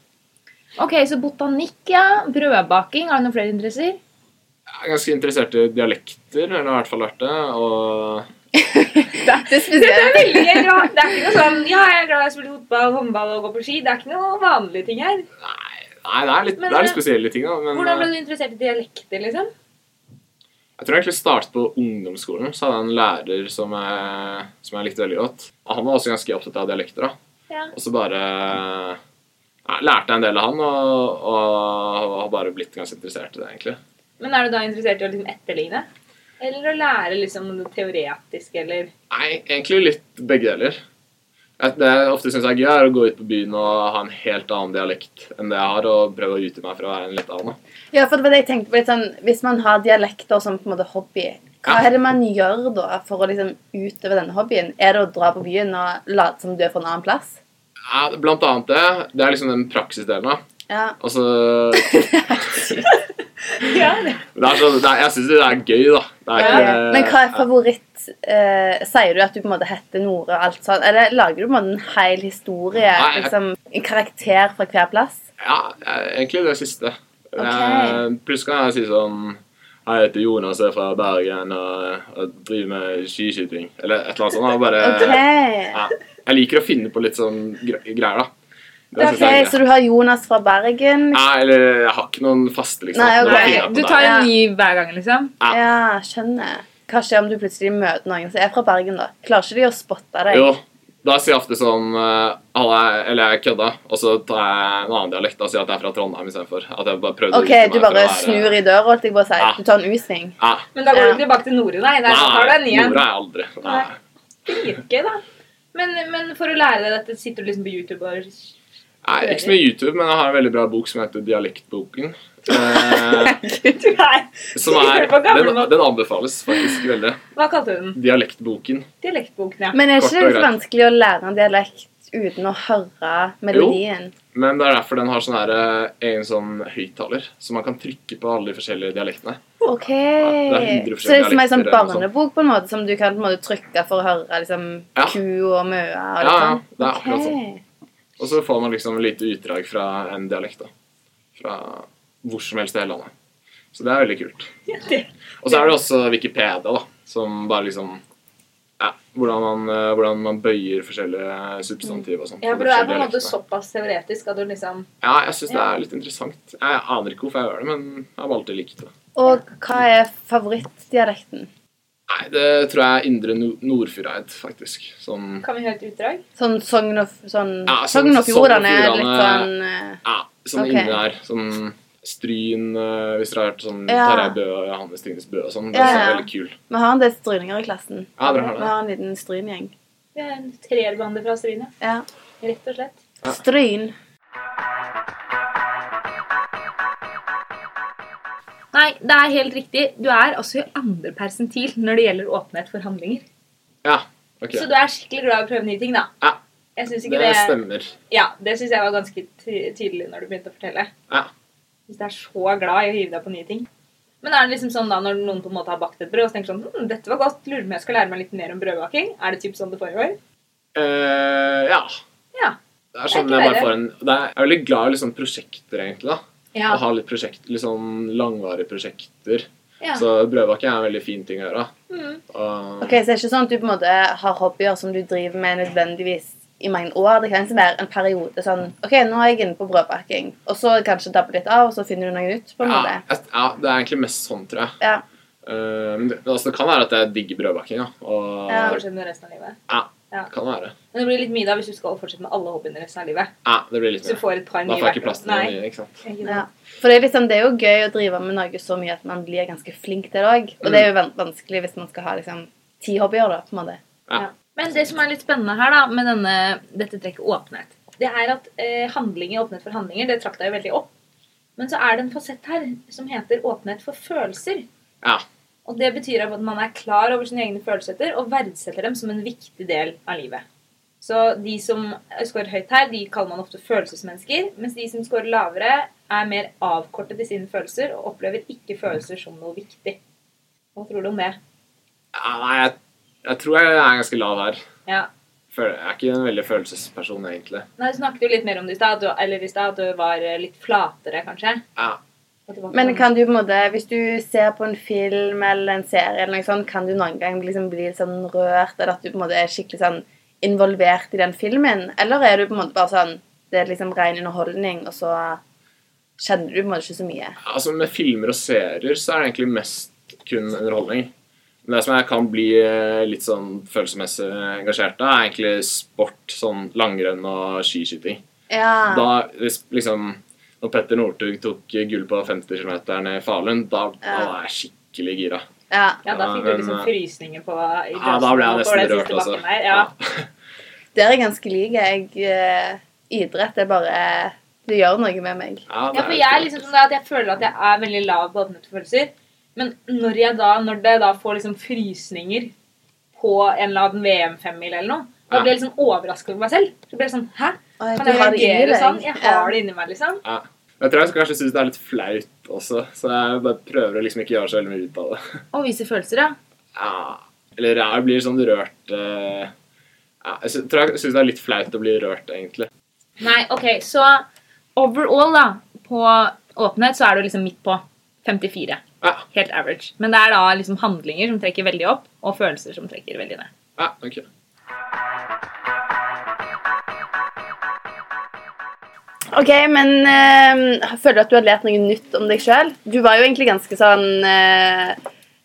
Speaker 4: Ok, så botanikk, ja. Brødbaking. Har du noen flere interesser?
Speaker 3: Jeg er ganske interessert i dialekter, eller har i hvert fall vært det. Og
Speaker 1: Det er spesielt.
Speaker 2: Veldig gøy, bra. Det er ikke noe sånn Ja, jeg er glad jeg spiller fotball, håndball og går på ski. Det er ikke noe vanlige ting her.
Speaker 3: Nei, det er litt,
Speaker 2: Men,
Speaker 3: det er
Speaker 2: eh,
Speaker 3: litt spesielle ting, da. Men
Speaker 2: Hvordan ble
Speaker 3: eh,
Speaker 2: du interessert i dialekter, liksom?
Speaker 3: Jeg tror jeg egentlig startet på ungdomsskolen. Så hadde jeg en lærer som jeg, som jeg likte veldig godt. Og Han var også ganske opptatt av dialekter. da.
Speaker 2: Ja.
Speaker 3: Og så bare ja, lærte jeg en del av han, og, og har bare blitt ganske interessert i det, egentlig.
Speaker 2: Men er du da interessert i å liksom etterligne? Eller å lære liksom noe teoretisk, eller
Speaker 3: Nei, egentlig litt begge deler. Jeg- Det jeg ofte syns er gøy, er å gå ut på byen og ha en helt annen dialekt enn det jeg har, og prøve å utgi meg for å være en litt annen. da.
Speaker 1: Ja, for det var det jeg tenkte på. Litt sånn, hvis man har dialekter som på en måte hobby, hva
Speaker 3: Ja.
Speaker 1: er det man gjør da for å liksom utøve denne hobbyen? Er det å dra på byen og late som du er fra en annen plass?
Speaker 3: Ja, blant annet det. Det er liksom den praksisdelen, da.
Speaker 1: Ja.
Speaker 3: Altså
Speaker 2: Ja, det
Speaker 3: det er så, det er, Jeg syns det er gøy, da. Det er ikke,
Speaker 1: Men hva er favoritt eh, Sier du at du på en måte heter Nore og alt sånt? Eller lager du på en måte en hel historie?
Speaker 3: Nei, jeg-
Speaker 1: liksom En karakter fra hver plass?
Speaker 3: Ja, eh, egentlig det siste. Okay. Plutselig kan jeg si sånn Hei, jeg heter Jonas, jeg er fra Bergen og, og driver med skiskyting. Eller et eller annet sånt. da. Bare,
Speaker 1: Ok, Eh,
Speaker 3: ja. Jeg liker å finne på litt sånn gre greier, da. Det
Speaker 1: Ok,
Speaker 3: synes jeg er Ah, gøy.
Speaker 1: Så du har Jonas fra Bergen?
Speaker 3: Nei, eller jeg har ikke noen faste, liksom.
Speaker 1: Nei, ok.
Speaker 3: Det bare finner jeg på
Speaker 4: Du
Speaker 3: der.
Speaker 4: tar
Speaker 1: Ja.
Speaker 4: en ny hver gang, liksom?
Speaker 3: Ja.
Speaker 1: Ja, skjønner. Hva skjer om du plutselig møter noen som er fra Bergen? da? Klarer ikke de å spotte deg?
Speaker 3: Jo, da sier jeg ofte sånn eh, Halla, eller jeg kødda, og så tar jeg en annen dialekt og sier jeg at jeg er fra Trondheim istedenfor. At jeg bare prøvde
Speaker 1: OK, du bare snur i døra, holdt jeg på å si.
Speaker 3: Ja.
Speaker 1: Du tar en U-sving.
Speaker 3: eh, Ja.
Speaker 2: Men da går
Speaker 1: Ja.
Speaker 2: du tilbake til Nore, nei.
Speaker 3: Nei,
Speaker 2: Der tar du en ny en.
Speaker 3: Nora er jeg aldri. Nei.
Speaker 2: Nei. Dritgøy, da. Men, men for å lære deg dette, sitter du liksom på YouTube og
Speaker 3: Nei, ikke så mye YouTube, men jeg har en veldig bra bok som heter Dialektboken. Eh,
Speaker 2: Nei.
Speaker 3: som er,
Speaker 2: Det var gammel
Speaker 3: den,
Speaker 2: nok.
Speaker 3: den anbefales faktisk veldig.
Speaker 2: Hva kalte du den?
Speaker 3: Dialektboken.
Speaker 2: Dialektboken, ja.
Speaker 1: Men er
Speaker 3: Kort
Speaker 1: ikke
Speaker 3: og
Speaker 1: det
Speaker 3: greit.
Speaker 1: litt vanskelig å lære en dialekt uten å høre melodien?
Speaker 3: Men det er derfor den har sånn her, eh, egen sånn høyttaler, så man kan trykke på alle de forskjellige dialektene.
Speaker 1: OK.
Speaker 3: det er hundre
Speaker 1: så det er som ei
Speaker 3: forskjellige
Speaker 1: sånn
Speaker 3: dialekter og sånn.
Speaker 1: barnebok på en måte, som du kan på en måte trykke for å høre liksom,
Speaker 3: Ja.
Speaker 1: ku og møa og litt
Speaker 3: Ja, ja,
Speaker 1: sånn?
Speaker 3: det er akkurat
Speaker 1: Ok.
Speaker 3: Og så får man liksom et lite utdrag fra en dialekt, da. Fra hvor som helst i hele landet. Så det er veldig kult.
Speaker 2: Ja, det-
Speaker 3: Og så er det også Wikipedia, da, som bare liksom ja, hvordan, man, eh, hvordan man bøyer forskjellige substantiv og sånt.
Speaker 2: Ja,
Speaker 3: på
Speaker 2: for det er på en
Speaker 3: forskjellige
Speaker 2: måte
Speaker 3: dialektene.
Speaker 2: såpass teoretisk at du liksom
Speaker 3: Ja, jeg syns det er litt interessant. Jeg aner ikke hvorfor jeg gjør det, men jeg har alltid likt det.
Speaker 1: Og hva er favorittdialekten?
Speaker 3: Nei, det tror jeg er Indre Nor- Nordfjordeid, faktisk. Sånn
Speaker 2: Kan vi høre et utdrag?
Speaker 1: Sånn Sogn og sånn,
Speaker 3: Ja, sånn-
Speaker 1: Sogn og Fjordane
Speaker 3: Sogn
Speaker 1: er
Speaker 3: og
Speaker 1: litt sånn
Speaker 3: Fjordane-
Speaker 1: eh,
Speaker 3: ja, sånn
Speaker 1: Ok.
Speaker 3: inni der. Sånn Stryn, eh, hvis dere har hørt sånn
Speaker 1: Ja.
Speaker 3: Tarjei Bø og Johannes Tingnes Bø og sånn. Det
Speaker 1: Ja,
Speaker 3: er
Speaker 1: ja.
Speaker 3: veldig kul.
Speaker 1: Vi har en del stryninger i klassen.
Speaker 3: Ja, dere har det.
Speaker 1: vi har en liten stryngjeng.
Speaker 2: Vi er en treerbande fra Stryne,
Speaker 1: Ja.
Speaker 2: rett og slett.
Speaker 3: Ja.
Speaker 1: Stryn.
Speaker 4: Nei, det er helt riktig. Du er altså i andre persentil når det gjelder åpenhet for handlinger.
Speaker 3: Ja, ok.
Speaker 2: Så du er skikkelig glad i å prøve nye ting, da.
Speaker 3: Ja.
Speaker 2: Jeg synes ikke
Speaker 3: Det
Speaker 2: det,
Speaker 3: stemmer.
Speaker 2: Ja, det syns jeg var ganske ty- tydelig når du begynte å fortelle.
Speaker 3: Ja.
Speaker 2: Hvis du er så glad i å hive deg på nye ting. Men er det liksom sånn da, når noen på en måte har bakt et brød og så tenker sånn hm, 'Dette var godt. Lurer på om jeg skal lære meg litt mer om brødbaking.' Er det typ sånn det foregår?
Speaker 3: Eh, ja.
Speaker 2: Ja.
Speaker 3: Det
Speaker 2: Det
Speaker 3: er sånn
Speaker 2: er ikke
Speaker 3: jeg bare
Speaker 2: verre.
Speaker 3: får en det er, Jeg er veldig glad i liksom prosjekter, egentlig. da.
Speaker 2: Ja.
Speaker 3: Å ha litt, prosjekt, litt sånn langvarige prosjekter.
Speaker 2: Ja.
Speaker 3: Så brødbaking er en veldig fin ting å gjøre.
Speaker 2: Mm.
Speaker 3: Og,
Speaker 1: Ok, Så det er ikke sånn at du på en måte har hobbyer som du driver med nødvendigvis i mange år. Det kan liksom være en periode sånn OK, nå er jeg inne på brødbaking. Og så kanskje dabbe litt av, og så finner du noe nytt.
Speaker 2: Sånn
Speaker 1: på en
Speaker 3: ja,
Speaker 1: måte.
Speaker 3: jeg- ja, det er egentlig mest sånn, tror jeg.
Speaker 1: Ja.
Speaker 3: Eh, men det, altså, det kan være at jeg digger brødbaking, ja. Og
Speaker 1: Ja.
Speaker 2: Fortsett med resten av livet.
Speaker 3: det kan være.
Speaker 2: Men det blir litt mye da hvis du skal fortsette med alle hobbyene resten av livet.
Speaker 3: Ja, det blir litt
Speaker 2: Hvis du
Speaker 3: mer.
Speaker 2: får et par
Speaker 3: Da
Speaker 2: nye
Speaker 3: får jeg
Speaker 2: hvert
Speaker 3: ikke plass til
Speaker 2: år.
Speaker 3: noe
Speaker 2: Nei,
Speaker 3: nye, ikke sant.
Speaker 2: ikke sant.
Speaker 1: Ja. For det er, liksom, det er jo gøy å drive med noe så mye at man blir ganske flink til det òg. Og det er jo van- vanskelig hvis man skal ha liksom ti hobbyer. da, på en måte.
Speaker 4: Men det som er litt spennende her da, med denne, dette trekket åpenhet,
Speaker 2: det er at eh, handlinger, åpenhet for handlinger, det trakk deg jo veldig opp. Men så er det en fasett her som heter åpenhet for følelser.
Speaker 3: Ja.
Speaker 2: Og det betyr at man er klar over sine egne følelser og verdsetter dem som en viktig del av livet. Så de som scorer høyt her, de kaller man ofte følelsesmennesker. Mens de som scorer lavere, er mer avkortet i sine følelser og opplever ikke følelser som noe viktig. Hva tror du om det?
Speaker 3: Ja, nei, jeg, jeg tror jeg er ganske lav her.
Speaker 2: Ja.
Speaker 3: Føl- Jeg er ikke en veldig følelsesperson, egentlig.
Speaker 2: Nei, Du snakket jo litt mer om det i stad, at du- eller i stad, at du var eh, litt flatere, kanskje.
Speaker 3: Ja.
Speaker 2: At det var ikke
Speaker 1: Men
Speaker 2: sånn-
Speaker 1: kan du på en måte, hvis du ser på en film eller en serie, eller noe sånt, kan du noen gang liksom bli litt sånn rørt, eller at du på en måte er skikkelig sånn involvert i den filmen? Eller er du på en måte bare sånn Det er liksom ren underholdning, og så kjenner du på en måte ikke så mye?
Speaker 3: Altså, med filmer og serier så er det egentlig mest kun underholdning. Men det som jeg kan bli eh, litt sånn følelsesmessig engasjert av, er egentlig sport, sånn langrenn og skiskyting.
Speaker 1: Ja.
Speaker 3: Da hvis liksom Når Petter Northug tok gull på 50 km i Falun, da, da
Speaker 1: Ja.
Speaker 3: var jeg skikkelig gira.
Speaker 1: ja.
Speaker 2: Ja, da
Speaker 3: Ja,
Speaker 2: fikk du
Speaker 3: men,
Speaker 2: liksom
Speaker 3: eh,
Speaker 2: frysninger på i
Speaker 3: Ja, da ble jeg
Speaker 2: brøsten
Speaker 3: nesten
Speaker 2: over den
Speaker 3: rørt,
Speaker 2: siste
Speaker 3: altså.
Speaker 2: bakken der. Ja.
Speaker 1: Der er jeg ganske lik. Jeg eh, Idrett er bare Det gjør noe med meg.
Speaker 3: Ja,
Speaker 2: Ja,
Speaker 3: det er
Speaker 2: for
Speaker 3: jo
Speaker 2: jeg er
Speaker 3: kult.
Speaker 2: liksom sånn der at jeg føler at jeg er veldig lav på åpne følelser. Men når jeg da, når det da får liksom frysninger på en eller annen VM-femmil eller noe, da
Speaker 3: Ja.
Speaker 2: blir jeg liksom overrasket over meg selv. Så blir jeg sånn Hæ?
Speaker 1: Og jeg,
Speaker 2: Kan jeg reagere sånn? Jeg har det inni meg, liksom.
Speaker 3: Jeg tror jeg kanskje syns det er litt flaut også, så jeg bare prøver å liksom ikke gjøre så veldig mye ut av det.
Speaker 4: Å vise følelser, ja.
Speaker 3: Ja. Eller jeg blir sånn rørt eh, ja, Jeg sy- tror jeg syns det er litt flaut å bli rørt, egentlig.
Speaker 4: Nei, OK, så overall, da, på åpenhet så er du liksom midt på. 54.
Speaker 3: Ja,
Speaker 4: Helt average. Men det er da liksom handlinger som trekker veldig opp, og følelser som trekker veldig ned.
Speaker 3: ja, ok.
Speaker 1: OK, men eh, føler du at du har lært noe nytt om deg sjøl? Du var jo egentlig ganske sånn eh,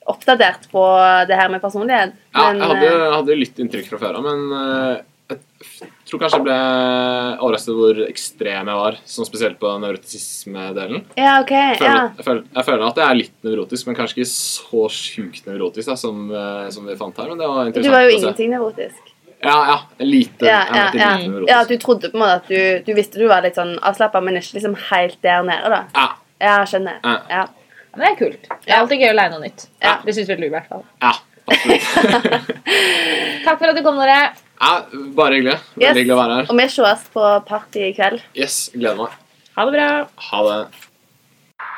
Speaker 1: oppdatert på det her med personlighet.
Speaker 3: Ja,
Speaker 1: men,
Speaker 3: jeg hadde,
Speaker 1: eh,
Speaker 3: jeg hadde litt inntrykk fra før av, men eh, jeg tror kanskje jeg ble overrasket over hvor ekstrem jeg var, sånn spesielt på nevrotisme-delen.
Speaker 1: ja, ok.
Speaker 3: Jeg,
Speaker 1: Ja.
Speaker 3: føler- jeg, føler- jeg føler at jeg er litt nevrotisk, men kanskje ikke så sjukt nevrotisk da, som, eh, som vi fant her. Men det altså. var
Speaker 1: Du
Speaker 3: interessant
Speaker 1: var jo
Speaker 3: å se.
Speaker 1: ingenting nevrotisk.
Speaker 3: Ja, ja. Lite.
Speaker 1: Ja,
Speaker 3: jeg
Speaker 1: ja,
Speaker 3: mente
Speaker 1: ja.
Speaker 3: lite nevrotisk.
Speaker 1: ja, at du trodde på en måte at du, du visste du var litt sånn avslappa, men ikke liksom helt der nede, da.
Speaker 3: Ja,
Speaker 1: Ja, skjønner.
Speaker 3: Ja.
Speaker 1: Ja.
Speaker 4: Ja, Men det er kult. Det er alltid gøy å lære noe nytt.
Speaker 1: Ja.
Speaker 4: Det syns vel du, i hvert fall.
Speaker 3: ja, absolutt.
Speaker 4: Takk for at du kom, dere.
Speaker 3: ja, bare hyggelig. Veldig
Speaker 1: Yes.
Speaker 3: hyggelig å være her.
Speaker 1: Og vi sees på party i kveld.
Speaker 3: Yes, gleder meg.
Speaker 4: Ha det bra.
Speaker 3: Ha det.